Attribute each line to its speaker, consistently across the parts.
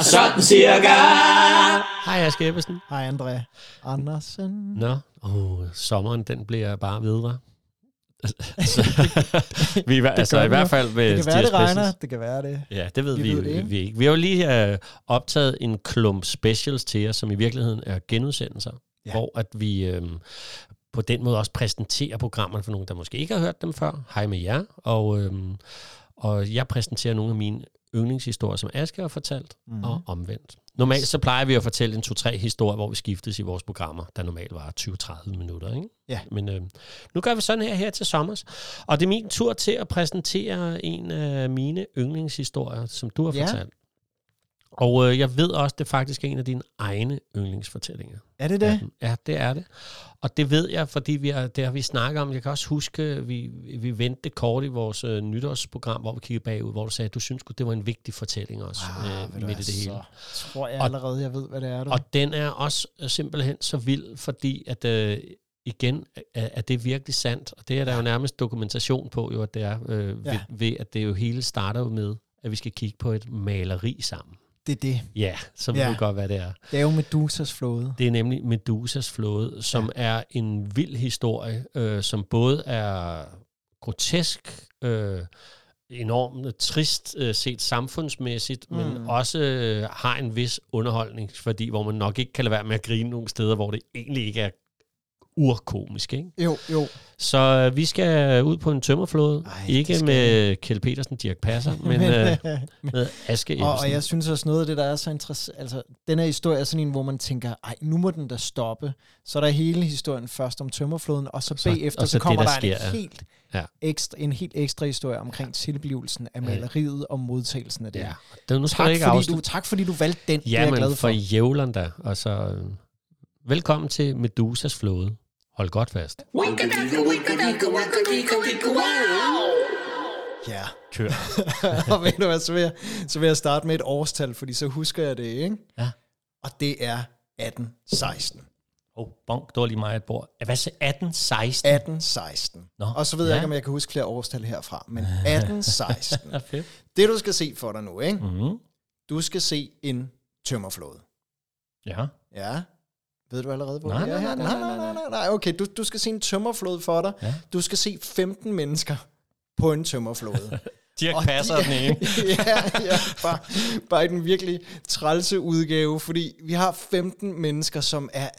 Speaker 1: Sådan cirka.
Speaker 2: Hej, Aske Ebbesen.
Speaker 3: Hej, André Andersen.
Speaker 2: Nå, oh, sommeren den bliver bare ved, hva'? Så, vi, er- altså
Speaker 3: gør
Speaker 2: i
Speaker 3: den jo.
Speaker 2: hvert fald med
Speaker 3: Det kan være,
Speaker 2: Stiers
Speaker 3: det regner.
Speaker 2: Business.
Speaker 3: Det kan være det.
Speaker 2: Ja, det ved vi,
Speaker 3: Vi
Speaker 2: vi,
Speaker 3: ved det
Speaker 2: vi,
Speaker 3: ikke.
Speaker 2: vi ikke. Vi har jo lige øh, optaget en klump specials til jer, som i virkeligheden er genudsendelser, ja.
Speaker 3: Ja.
Speaker 2: hvor at vi øh, på den måde også præsenterer programmerne for nogen, der måske ikke har hørt dem før. Hej med jer. Og, øh, og jeg præsenterer nogle af mine yndlingshistorier, som Aske har fortalt, mm.
Speaker 3: Mhm.
Speaker 2: og omvendt. Normalt så plejer vi at fortælle en to-tre historier, hvor vi skiftes i vores programmer, der normalt var 20-30 minutter. Ikke?
Speaker 3: Ja.
Speaker 2: Men øh, nu gør vi sådan her her til sommer, og det er min tur til at præsentere en af mine yndlingshistorier, som du har
Speaker 3: Ja.
Speaker 2: fortalt. Og øh, jeg ved også, det er faktisk en af dine egne yndlingsfortællinger.
Speaker 3: Er det det?
Speaker 2: af dem. Ja, det er det. Og det ved jeg, fordi vi har, det har vi snakket om. Jeg kan også huske, vi, vi vendte det kort i vores øh, nytårsprogram, hvor vi kiggede bagud, hvor du sagde, at du synes, sgu, det var en vigtig fortælling også
Speaker 3: Ah,
Speaker 2: øh,
Speaker 3: ved du
Speaker 2: midt i
Speaker 3: hvad,
Speaker 2: det hele.
Speaker 3: Så tror jeg
Speaker 2: Og-
Speaker 3: allerede, jeg ved, hvad det er, du.
Speaker 2: Og den er også øh, simpelthen så vild, fordi at øh, igen, er, er det virkelig sandt? Og det er der jo nærmest dokumentation på, jo, at det er, øh, ved,
Speaker 3: Ja.
Speaker 2: ved at det jo hele starter jo med, at vi skal kigge på et maleri sammen.
Speaker 3: Det er det.
Speaker 2: Ja, så ved
Speaker 3: Ja.
Speaker 2: du godt, hvad det er.
Speaker 3: Det er jo Medusas flåde.
Speaker 2: Det er nemlig Medusas flåde, som ja. er en vild historie, øh, som både er grotesk, øh, enormt trist øh, set samfundsmæssigt, mm. men
Speaker 3: Mm.
Speaker 2: også øh, har en vis underholdning, fordi hvor man nok ikke kan lade være med at grine nogle steder, hvor det egentlig ikke er urkomisk. Ikke?
Speaker 3: Jo, jo.
Speaker 2: Så øh, vi skal ud på en tømmerflåde,
Speaker 3: Ej, det
Speaker 2: ikke
Speaker 3: skal
Speaker 2: med Kjeld Petersen, Dirk Passer, men øh, med Aske Ebbesen.
Speaker 3: og, og jeg synes også noget af det, der er så interessant, altså den her historie er sådan en, hvor man tænker, ej, nu må den da stoppe. Så er der hele historien først om tømmerfloden, og så,
Speaker 2: Så-
Speaker 3: bagefter,
Speaker 2: og
Speaker 3: så,
Speaker 2: så det,
Speaker 3: kommer
Speaker 2: der
Speaker 3: der, en,
Speaker 2: sker, ja.
Speaker 3: helt
Speaker 2: Ja.
Speaker 3: Ekstra, en helt ekstra historie omkring tilblivelsen af maleriet og modtagelsen af det.
Speaker 2: ja. Det, nu skal
Speaker 3: Tak,
Speaker 2: jeg ikke
Speaker 3: fordi
Speaker 2: afsløre-
Speaker 3: du, tak fordi du valgte den, det er jeg
Speaker 2: Jamen,
Speaker 3: glad
Speaker 2: for
Speaker 3: for.
Speaker 2: jævlen da. Og så, øh, velkommen til Medusas flåde. Hold godt fast.
Speaker 3: Ja.
Speaker 2: Kør.
Speaker 3: og ved du hvad, så vil, jeg, så vil jeg starte med et årstal, fordi så husker jeg det, ikke?
Speaker 2: Ja.
Speaker 3: Og det er 1816.
Speaker 4: Åh, oh, bonk, det var lige mig et bord. Hvad så 18, 16?
Speaker 3: 1816.
Speaker 4: Nå,
Speaker 3: Og så ved jeg
Speaker 4: ja.
Speaker 3: ikke, om jeg kan huske flere årstal herfra, men 1816.
Speaker 4: Ja, fedt.
Speaker 3: det du skal se for dig nu, ikke?
Speaker 2: Mhm.
Speaker 4: Mm,
Speaker 3: Du skal se en tømmerflåde.
Speaker 4: ja.
Speaker 3: Ja. Ved du allerede, hvor
Speaker 4: Nej,
Speaker 3: det er
Speaker 4: nej,
Speaker 3: her?
Speaker 4: nej, nej, nej,
Speaker 3: nej, nej, nej. Okay, du, du skal se en tømmerflåde for dig.
Speaker 4: Ja.
Speaker 3: Du skal se 15 mennesker på en tømmerflåde.
Speaker 4: Dirk
Speaker 3: Og
Speaker 4: passer
Speaker 3: de-
Speaker 4: den ene.
Speaker 3: ja, ja bare, bare i den virkelig trælse udgave, fordi vi har 15 mennesker, som er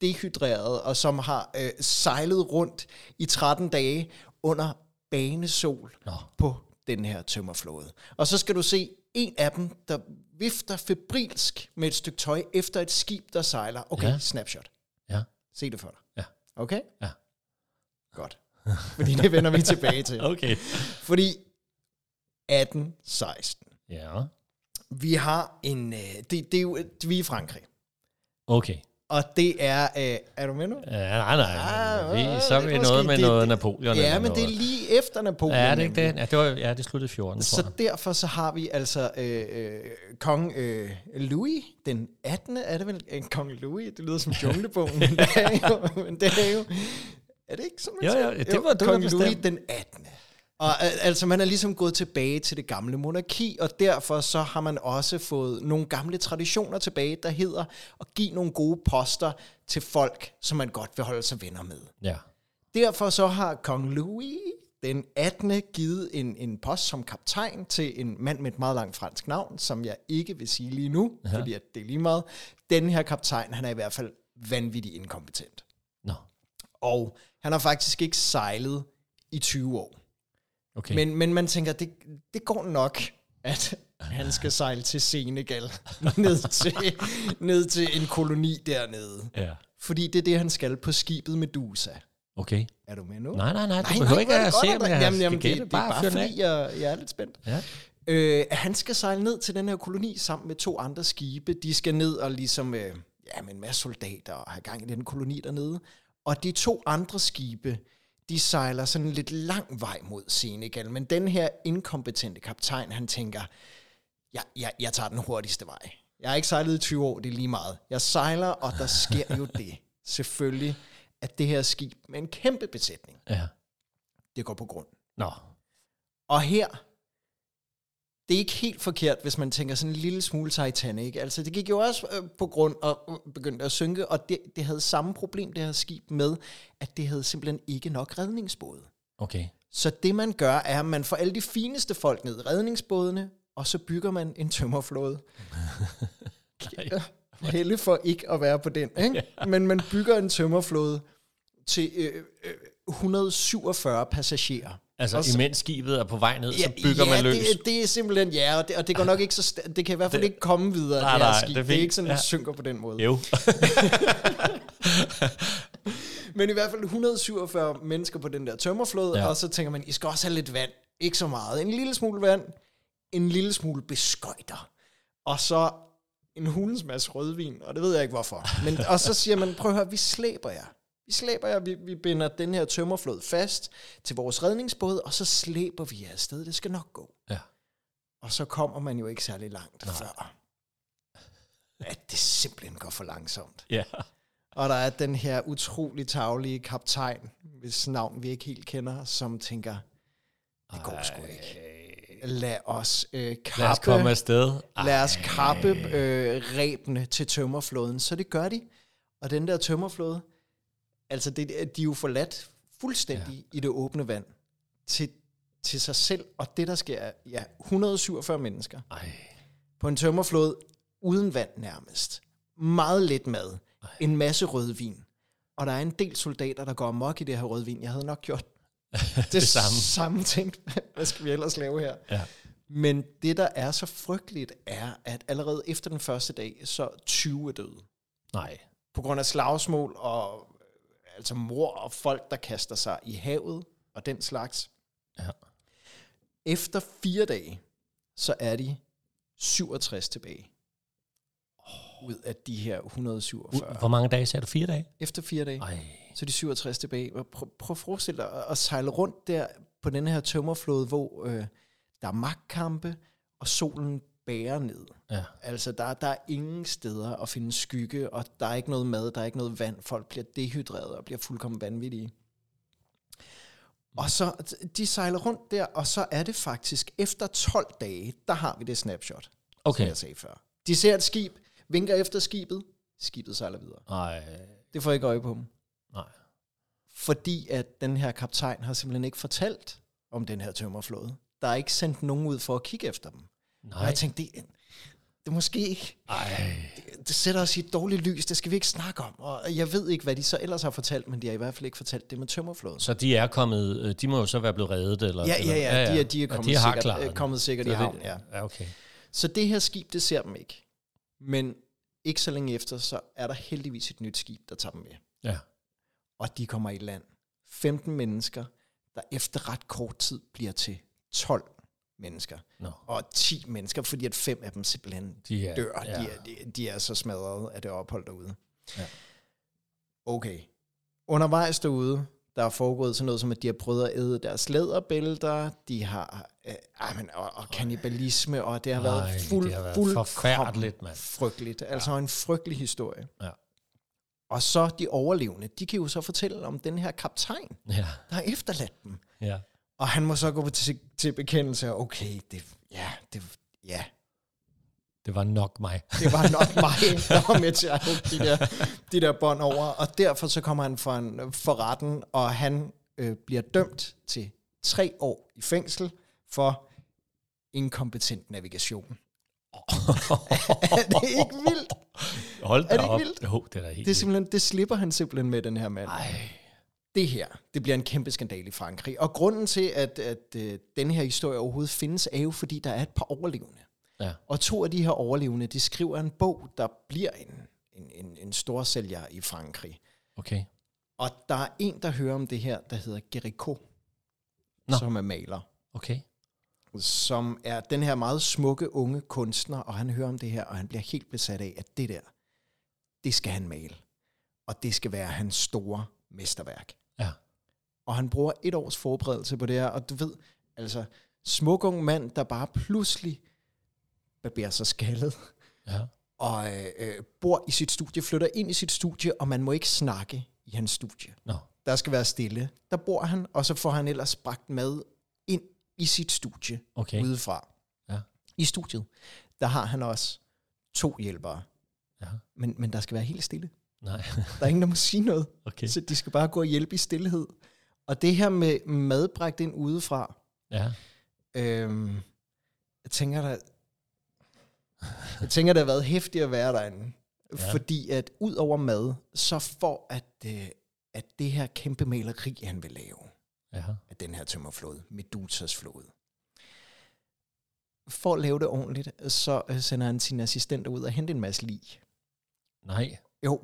Speaker 3: dehydreret og som har øh, sejlet rundt i 13 dage under banesol Nå. på den her tømmerflåde. Og så skal du se en af dem, der vifter febrilsk med et stykke tøj efter et skib, der sejler. Okay,
Speaker 2: Ja.
Speaker 3: ja. snapshot.
Speaker 2: Ja.
Speaker 3: Se det for dig.
Speaker 2: Ja.
Speaker 3: Okay?
Speaker 2: Ja.
Speaker 3: Godt. Fordi det vender vi tilbage til.
Speaker 4: Okay.
Speaker 3: Fordi 1816.
Speaker 4: Ja.
Speaker 3: Vi har en... Øh, det, det er jo, vi er i Frankrig.
Speaker 2: Okay.
Speaker 3: Og det er... Øh, er du med nu?
Speaker 2: Ja, nej, nej.
Speaker 3: Ah,
Speaker 2: vi,
Speaker 3: ah,
Speaker 2: så er
Speaker 3: det
Speaker 2: vi
Speaker 3: er måske-
Speaker 2: noget med
Speaker 3: det-
Speaker 2: noget
Speaker 3: det-
Speaker 2: Napoleon.
Speaker 3: ja,
Speaker 2: eller
Speaker 3: men det er
Speaker 2: noget.
Speaker 3: lige efter Napoleon.
Speaker 2: Ja, er det ikke
Speaker 3: nemlig.
Speaker 2: det? Ja, det, var, ja, det sluttede i 14, tror
Speaker 3: Så
Speaker 2: jeg.
Speaker 3: derfor så har vi altså øh, øh, kong øh, Louis den 18. Er det vel øh, kong Louis? Det lyder som junglebogen, men det er jo... Men det er, jo er det ikke sådan, man
Speaker 2: Jo,
Speaker 3: siger?
Speaker 2: jo, det var du, der
Speaker 3: Kong Louis
Speaker 2: bestemte.
Speaker 3: den 18. Og øh, altså, man er ligesom gået tilbage til det gamle monarki, og derfor så har man også fået nogle gamle traditioner tilbage, der hedder at give nogle gode poster til folk, som man godt vil holde sig venner med.
Speaker 2: Ja.
Speaker 3: Derfor så har kong Louis den 18. givet en, en post som kaptajn til en mand med et meget langt fransk navn, som jeg ikke vil sige lige nu, ja. fordi at det er lige meget. Den her kaptajn, han er i hvert fald vanvittigt inkompetent.
Speaker 2: Nå.
Speaker 3: Og han har faktisk ikke sejlet i 20 år.
Speaker 2: Okay.
Speaker 3: Men, men man tænker, det, det går nok, at han skal sejle til Senegal, ned til, ned til en koloni dernede.
Speaker 2: Ja.
Speaker 3: Fordi det er det, han skal på skibet Medusa.
Speaker 2: Okay.
Speaker 3: Er du med nu?
Speaker 2: Nej, nej, nej. Du
Speaker 3: Nej,
Speaker 2: behøver
Speaker 3: nej,
Speaker 2: ikke
Speaker 3: hvor
Speaker 2: at
Speaker 3: er det
Speaker 2: se,
Speaker 3: godt,
Speaker 2: om
Speaker 3: André.
Speaker 2: jeg
Speaker 3: jamen, jamen,
Speaker 2: skal
Speaker 3: det,
Speaker 2: gætte.
Speaker 3: det, er
Speaker 2: Bare
Speaker 3: bare
Speaker 2: fyr den
Speaker 3: fordi,
Speaker 2: af.
Speaker 3: jeg, jeg er lidt spændt.
Speaker 2: Ja.
Speaker 3: Øh, han skal sejle ned til den her koloni sammen med to andre skibe. De skal ned og ligesom, øh, ja, med en masse soldater og have gang i den koloni dernede. Og de to andre skibe, de sejler sådan lidt lang vej mod Senegal. Men den her inkompetente kaptajn, han tænker, jeg, jeg, jeg tager den hurtigste vej. Jeg har ikke sejlet i 20 år, det er lige meget. Jeg sejler, og der sker jo det, selvfølgelig, at det her skib med en kæmpe besætning,
Speaker 2: Ja.
Speaker 3: det går på grund.
Speaker 2: Nå.
Speaker 3: Og her, det er ikke helt forkert, hvis man tænker sådan en lille smule Titanic. Altså, det gik jo også øh, på grund og øh, begyndte at synke, og det, det havde samme problem, det her skib, med, at det havde simpelthen ikke nok redningsbåde.
Speaker 4: Okay.
Speaker 3: Så det, man gør, er, at man får alle de fineste folk ned i redningsbådene, og så bygger man en tømmerflåde. Helle for ikke at være på den, ikke? men man bygger en tømmerflåde til øh, øh, 147 passagerer.
Speaker 4: Altså,
Speaker 3: Og så-
Speaker 4: imens skibet er på vej ned, så bygger man løs.
Speaker 3: Det, det er simpelthen ja, og det, og det går nok ikke så sta- det kan i hvert fald ikke komme videre.
Speaker 4: Nej,
Speaker 3: Nej, det, her
Speaker 4: nej,
Speaker 3: skib.
Speaker 4: det er
Speaker 3: det, det er
Speaker 4: fint.
Speaker 3: ikke sådan, at
Speaker 4: Ja.
Speaker 3: det synker på den måde.
Speaker 4: Jo.
Speaker 3: Men i hvert fald 147 mennesker på den der tømmerflod, ja. og så tænker man, I skal også have lidt vand. Ikke så meget. En lille smule vand, en lille smule beskøjter, og så en hulens masse rødvin, og det ved jeg ikke hvorfor. Men, og så siger man, prøv at høre, vi slæber jer. Vi slæber jer, vi, vi binder den her tømmerflod fast til vores redningsbåd, og så slæber vi jer afsted. Det skal nok gå.
Speaker 2: Ja.
Speaker 3: Og så kommer man jo ikke særlig langt Nej. før, at det simpelthen går for langsomt.
Speaker 4: ja.
Speaker 3: Og der er den her utrolig taglige kaptajn, hvis navn vi ikke helt kender, som tænker, det går sgu ikke. Lad os øh, kappe,
Speaker 4: Lad os komme afsted.
Speaker 3: lad os kappe øh, rebene til tømmerflåden. Så det gør de. Og den der tømmerflåde, altså det, de er jo forladt fuldstændig ja. i det åbne vand til, til sig selv. Og det der sker, er, ja, 147 mennesker
Speaker 2: Ej,
Speaker 3: på en tømmerflod uden vand nærmest. Meget lidt mad. En masse rødvin. Og der er en del soldater, der går amok i det her rødvin. Jeg havde nok gjort det, det samme. samme ting. Hvad skal vi ellers lave her?
Speaker 4: Ja.
Speaker 3: Men det, der er så frygteligt, er, at allerede efter den første dag, så 20 er døde.
Speaker 2: nej.
Speaker 3: På grund af slagsmål og øh, altså mor og folk, der kaster sig i havet og den slags.
Speaker 4: Ja.
Speaker 3: Efter fire dage, så er de 67 tilbage. Ud af de her 147.
Speaker 4: Hvor mange dage sagde du? Fire dage?
Speaker 3: Efter fire dage,
Speaker 4: Ej.
Speaker 3: så er de 67 tilbage. Og Prøv, prøv at forestille dig at- at sejle rundt der på den her tømmerflåde, hvor øh, der er magtkampe, og solen bærer ned.
Speaker 4: Ja.
Speaker 3: Altså, der, der er ingen steder at finde skygge, og der er ikke noget mad, der er ikke noget vand. Folk bliver dehydreret og bliver fuldkommen vanvittige. Og så, de sejler rundt der, og så er det faktisk, efter 12 dage, der har vi det snapshot, som
Speaker 4: Okay.
Speaker 3: jeg sagde før. De ser et skib, vinker efter skibet, skibet sejler videre.
Speaker 4: Ej.
Speaker 3: Det får jeg ikke øje på dem.
Speaker 4: Nej.
Speaker 3: Fordi at den her kaptajn har simpelthen ikke fortalt om den her tømmerflåde. Der er ikke sendt nogen ud for at kigge efter dem. Og
Speaker 4: Nej.
Speaker 3: jeg tænkte, det, det er måske ikke
Speaker 4: Ej.
Speaker 3: det sætter os i et dårligt lys, det skal vi ikke snakke om. Og jeg ved ikke, hvad de så ellers har fortalt, men de har i hvert fald ikke fortalt det med tømmerflåden.
Speaker 4: Så de er kommet, øh, de må jo så være blevet reddet, eller?
Speaker 3: Ja,
Speaker 4: eller,
Speaker 3: ja, ja, de er, de er
Speaker 4: Og
Speaker 3: kommet,
Speaker 4: de har
Speaker 3: sikkert,
Speaker 4: klaret
Speaker 3: øh,
Speaker 4: den.
Speaker 3: kommet sikkert
Speaker 4: Så
Speaker 3: i
Speaker 4: det-
Speaker 3: havn. Ja.
Speaker 4: Ja, okay.
Speaker 3: Så det her skib, det ser dem ikke. Men ikke så længe efter, så er der heldigvis et nyt skib, der tager dem med.
Speaker 4: Ja.
Speaker 3: Og de kommer i land. 15 mennesker, der efter ret kort tid bliver til 12 mennesker.
Speaker 4: Nå.
Speaker 3: Og 10 mennesker, fordi at fem af dem simpelthen
Speaker 4: De er,
Speaker 3: dør. Ja.
Speaker 4: Ja.
Speaker 3: De, er, de, de er så smadret af det ophold derude.
Speaker 4: Ja.
Speaker 3: Okay. Undervejs derude, der er foregået sådan noget som, at de har prøvet at æde deres læderbælter, de har øh, ah, men, og, og kanibalisme, og det har
Speaker 4: Ej,
Speaker 3: været
Speaker 4: det
Speaker 3: fuld,
Speaker 4: har været
Speaker 3: fuldkommen
Speaker 4: forfærdeligt, mand.
Speaker 3: frygteligt. Altså ja. en frygtelig historie.
Speaker 4: Ja.
Speaker 3: Og så de overlevende, de kan jo så fortælle om den her kaptajn,
Speaker 4: Ja,
Speaker 3: der har efterladt dem.
Speaker 4: ja.
Speaker 3: Og han må så gå til, til bekendelse, og okay, det, ja, det, ja,
Speaker 4: Det var nok mig.
Speaker 3: det var nok mig, der var med til at hugge de der, de der bånd over. Og derfor så kommer han for, en, for retten, og han øh, bliver dømt til tre år i fængsel for inkompetent navigation. er det ikke vildt?
Speaker 4: Hold da
Speaker 3: Er det ikke
Speaker 4: op.
Speaker 3: vildt?
Speaker 4: Jo, det er da helt
Speaker 3: Det, er simpelthen, det slipper han simpelthen med, den her mand.
Speaker 4: vildt.
Speaker 3: Det her, det bliver en kæmpe skandal i Frankrig. Og grunden til, at, at øh, den her historie overhovedet findes, er jo, fordi der er et par overlevende.
Speaker 4: Ja.
Speaker 3: Og to af de her overlevende, de skriver en bog, der bliver en, en, en, en stor sælger i Frankrig.
Speaker 4: Okay.
Speaker 3: Og der er en, der hører om det her, der hedder Gericault,
Speaker 4: Nå.
Speaker 3: som er maler,
Speaker 4: Okay.
Speaker 3: som er den her meget smukke unge kunstner, og han hører om det her, og han bliver helt besat af, at det der, det skal han male. Og det skal være hans store mesterværk.
Speaker 4: Ja.
Speaker 3: Og han bruger et års forberedelse på det her, og du ved, altså, smuk ung mand, der bare pludselig barberer sig skaldet,
Speaker 4: Ja.
Speaker 3: og øh, øh, bor i sit studie, flytter ind i sit studie, og man må ikke snakke i hans studie.
Speaker 4: Nå.
Speaker 3: Der skal være stille. Der bor han, og så får han ellers bragt mad ind i sit studie
Speaker 4: Okay.
Speaker 3: udefra.
Speaker 4: Ja.
Speaker 3: I studiet, der har han også to hjælpere.
Speaker 2: Ja.
Speaker 3: Men, men der skal være helt stille.
Speaker 2: Nej,
Speaker 3: Der er ingen, der må sige noget.
Speaker 2: okay.
Speaker 3: Så de skal bare gå og hjælpe i stillhed. Og det her med mad bragt ind udefra,
Speaker 2: Ja.
Speaker 3: øhm, jeg tænker der, jeg tænker, det har været hæftigt at være derinde.
Speaker 2: Ja.
Speaker 3: Ja. Fordi at ud over mad, så for at, øh, at det her kæmpe maleri, han vil lave,
Speaker 2: Ja.
Speaker 3: af den her tømmerflåde, Medusas flåde. For at lave det ordentligt, så øh, sender han sine assistenter ud og henter en masse lig.
Speaker 2: Nej.
Speaker 3: Jo,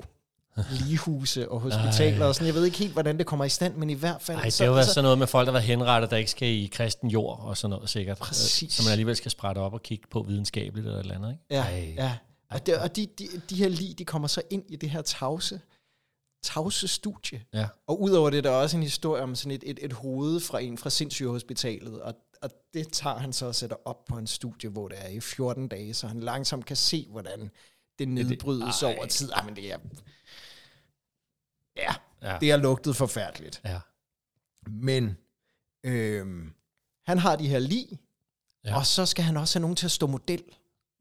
Speaker 3: ligehuse og hospitaler
Speaker 2: Ej.
Speaker 3: og sådan. Jeg ved ikke helt, hvordan det kommer i stand, men i hvert fald...
Speaker 2: Ej, det har jo
Speaker 3: altså-
Speaker 2: været sådan noget med folk, der var henrettet, der ikke skal i kristen jord og sådan noget sikkert.
Speaker 3: Præcis.
Speaker 2: Så man alligevel skal sprætte op og kigge på videnskabeligt eller et eller andet, ikke?
Speaker 3: Ja,
Speaker 2: Ej.
Speaker 3: ja. Og, det, og de, de, de her lig, de kommer så ind i det her tavse, tavse studie.
Speaker 2: Ja.
Speaker 3: Og udover det, der er også en historie om sådan et, et, et hoved fra en fra sindssygehospitalet, og, og det tager han så og sætter op på en studie, hvor det er i 14 dage, så han langsomt kan se, hvordan det nedbrydes
Speaker 2: Ej.
Speaker 3: over tid. Ej, men det er... Ja,
Speaker 2: Ja.
Speaker 3: det har lugtet forfærdeligt.
Speaker 2: Ja.
Speaker 3: Men øhm, han har de her lig,
Speaker 2: Ja.
Speaker 3: ja. og så skal han også have nogen til at stå model.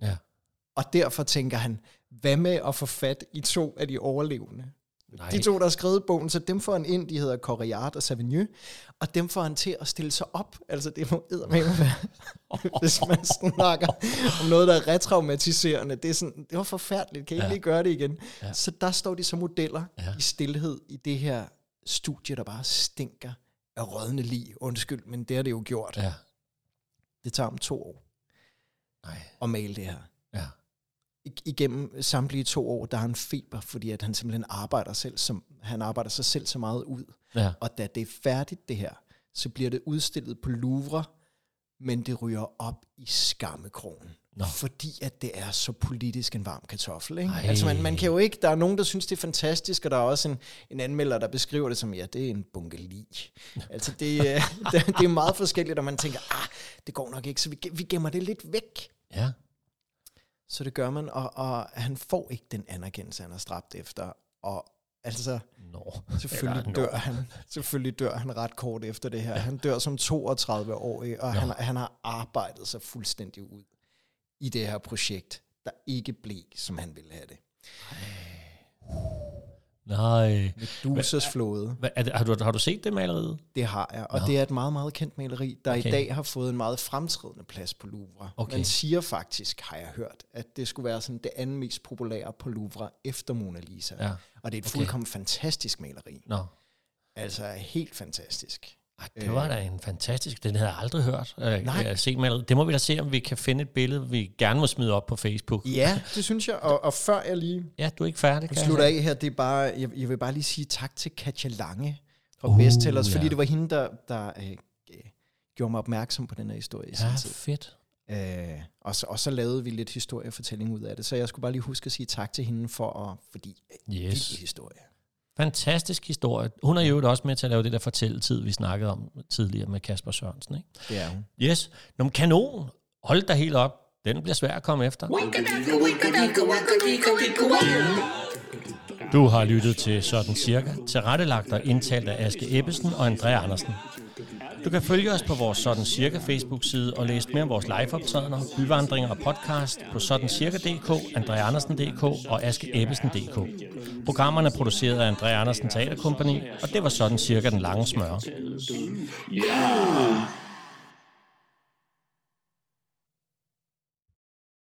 Speaker 2: Ja.
Speaker 3: Og derfor tænker han, hvad med at få fat i to af de overlevende?
Speaker 2: Nej.
Speaker 3: De to, der har skrevet bogen, så dem får han ind, de hedder Corriart og Savigny, og dem får han til at stille sig op. Altså, det må eddermame være, hvis man snakker om noget, der er retraumatiserende. Det, er sådan, det var forfærdeligt, kan I
Speaker 2: Ja.
Speaker 3: ja. lige gøre det igen?
Speaker 2: Ja.
Speaker 3: Ja. Så der står de som modeller
Speaker 2: Ja.
Speaker 3: ja. i stillhed i det her studie, der bare stinker af rådne lig. Undskyld, men det har det jo gjort. Ja.
Speaker 2: Ja.
Speaker 3: Det tager om to år
Speaker 2: Nej.
Speaker 3: at male det her.
Speaker 2: Ja.
Speaker 3: I- igennem samtlige to år, der har han feber, fordi at han simpelthen arbejder, selv som, han arbejder sig selv så meget ud.
Speaker 2: Ja.
Speaker 3: Og da det er færdigt, det her, så bliver det udstillet på Louvre, men det ryger op i skammekrogen.
Speaker 2: Nå.
Speaker 3: Fordi at det er så politisk en varm kartoffel. Ikke?
Speaker 2: Ej.
Speaker 3: Altså man, man kan jo ikke, der er nogen, der synes, det er fantastisk, og der er også en, en anmelder, der beskriver det som, ja, det er en bunke lig. Altså det, øh, det, det er meget forskelligt, og man tænker, ah, det går nok ikke, så vi, gem- vi gemmer det lidt væk.
Speaker 2: Ja.
Speaker 3: Så det gør man, og, og han får ikke den anerkendelse, han har stræbt efter. Og altså,
Speaker 2: Nå.
Speaker 3: selvfølgelig
Speaker 2: Eller, nå.
Speaker 3: dør han. Selvfølgelig dør han ret kort efter det her. Han dør som 32-årig, og han, han har arbejdet sig fuldstændig ud i det her projekt, der ikke blev, som han ville have det.
Speaker 2: Nej.
Speaker 3: Medusas flåde,
Speaker 2: Hvad, er det, har, du, har du set det maleriet?
Speaker 3: det har jeg. Og det er et meget, meget kendt maleri, der
Speaker 2: Okay.
Speaker 3: i dag har fået en meget fremtrædende plads på Louvre.
Speaker 2: Okay.
Speaker 3: Man siger faktisk, har jeg hørt, at det skulle være sådan det andet mest populære på Louvre efter Mona Lisa.
Speaker 2: Ja.
Speaker 3: Og det er et
Speaker 2: Okay.
Speaker 3: fuldkommen fantastisk maleri.
Speaker 2: Nå.
Speaker 3: Altså helt fantastisk.
Speaker 2: Ej, det var da en fantastisk... Den havde jeg aldrig hørt. Øh,
Speaker 3: Nej.
Speaker 2: Jeg set maleriet. Det må vi da se, om vi kan finde et billede, vi gerne må smide op på Facebook.
Speaker 3: Ja, det synes jeg. Og, og før jeg lige
Speaker 2: Ja, du er ikke færdig, kan jeg
Speaker 3: slutter
Speaker 2: se.
Speaker 3: af her, det er bare, jeg, jeg vil bare lige sige tak til Katja Lange fra
Speaker 2: Uh,
Speaker 3: uh, Bestsellers, fordi
Speaker 2: ja.
Speaker 3: det var hende, der, der øh, øh, gjorde mig opmærksom på den her historie i sin
Speaker 2: Ja,
Speaker 3: tid.
Speaker 2: fedt.
Speaker 3: Øh, og, så, og så lavede vi lidt historiefortælling ud af det, så jeg skulle bare lige huske at sige tak til hende for at, fordi yes.
Speaker 2: Yes.
Speaker 3: vild historie.
Speaker 2: Fantastisk historie. Hun er jo også med til at lave det der fortælletid, vi snakkede om tidligere med Kasper Sørensen. Ikke?
Speaker 3: Det er hun.
Speaker 2: Yes. Nå, men kanon. Hold dig helt op. Den bliver svær at komme efter. Du har lyttet til Sådan Cirka, tilrettelagt og indtalt af Aske Ebbesen og Andrea Andersen. Du kan følge os på vores Sådan Cirka Facebook-side og læse mere om vores liveoptrædener, byvandringer og podcast på sådancirka.dk, andreaandersen.dk og askeebbesen.dk. Programmerne er produceret af Andrea Andersen Teaterkompagni, og det var Sådan Cirka den lange smør.
Speaker 1: Yeah.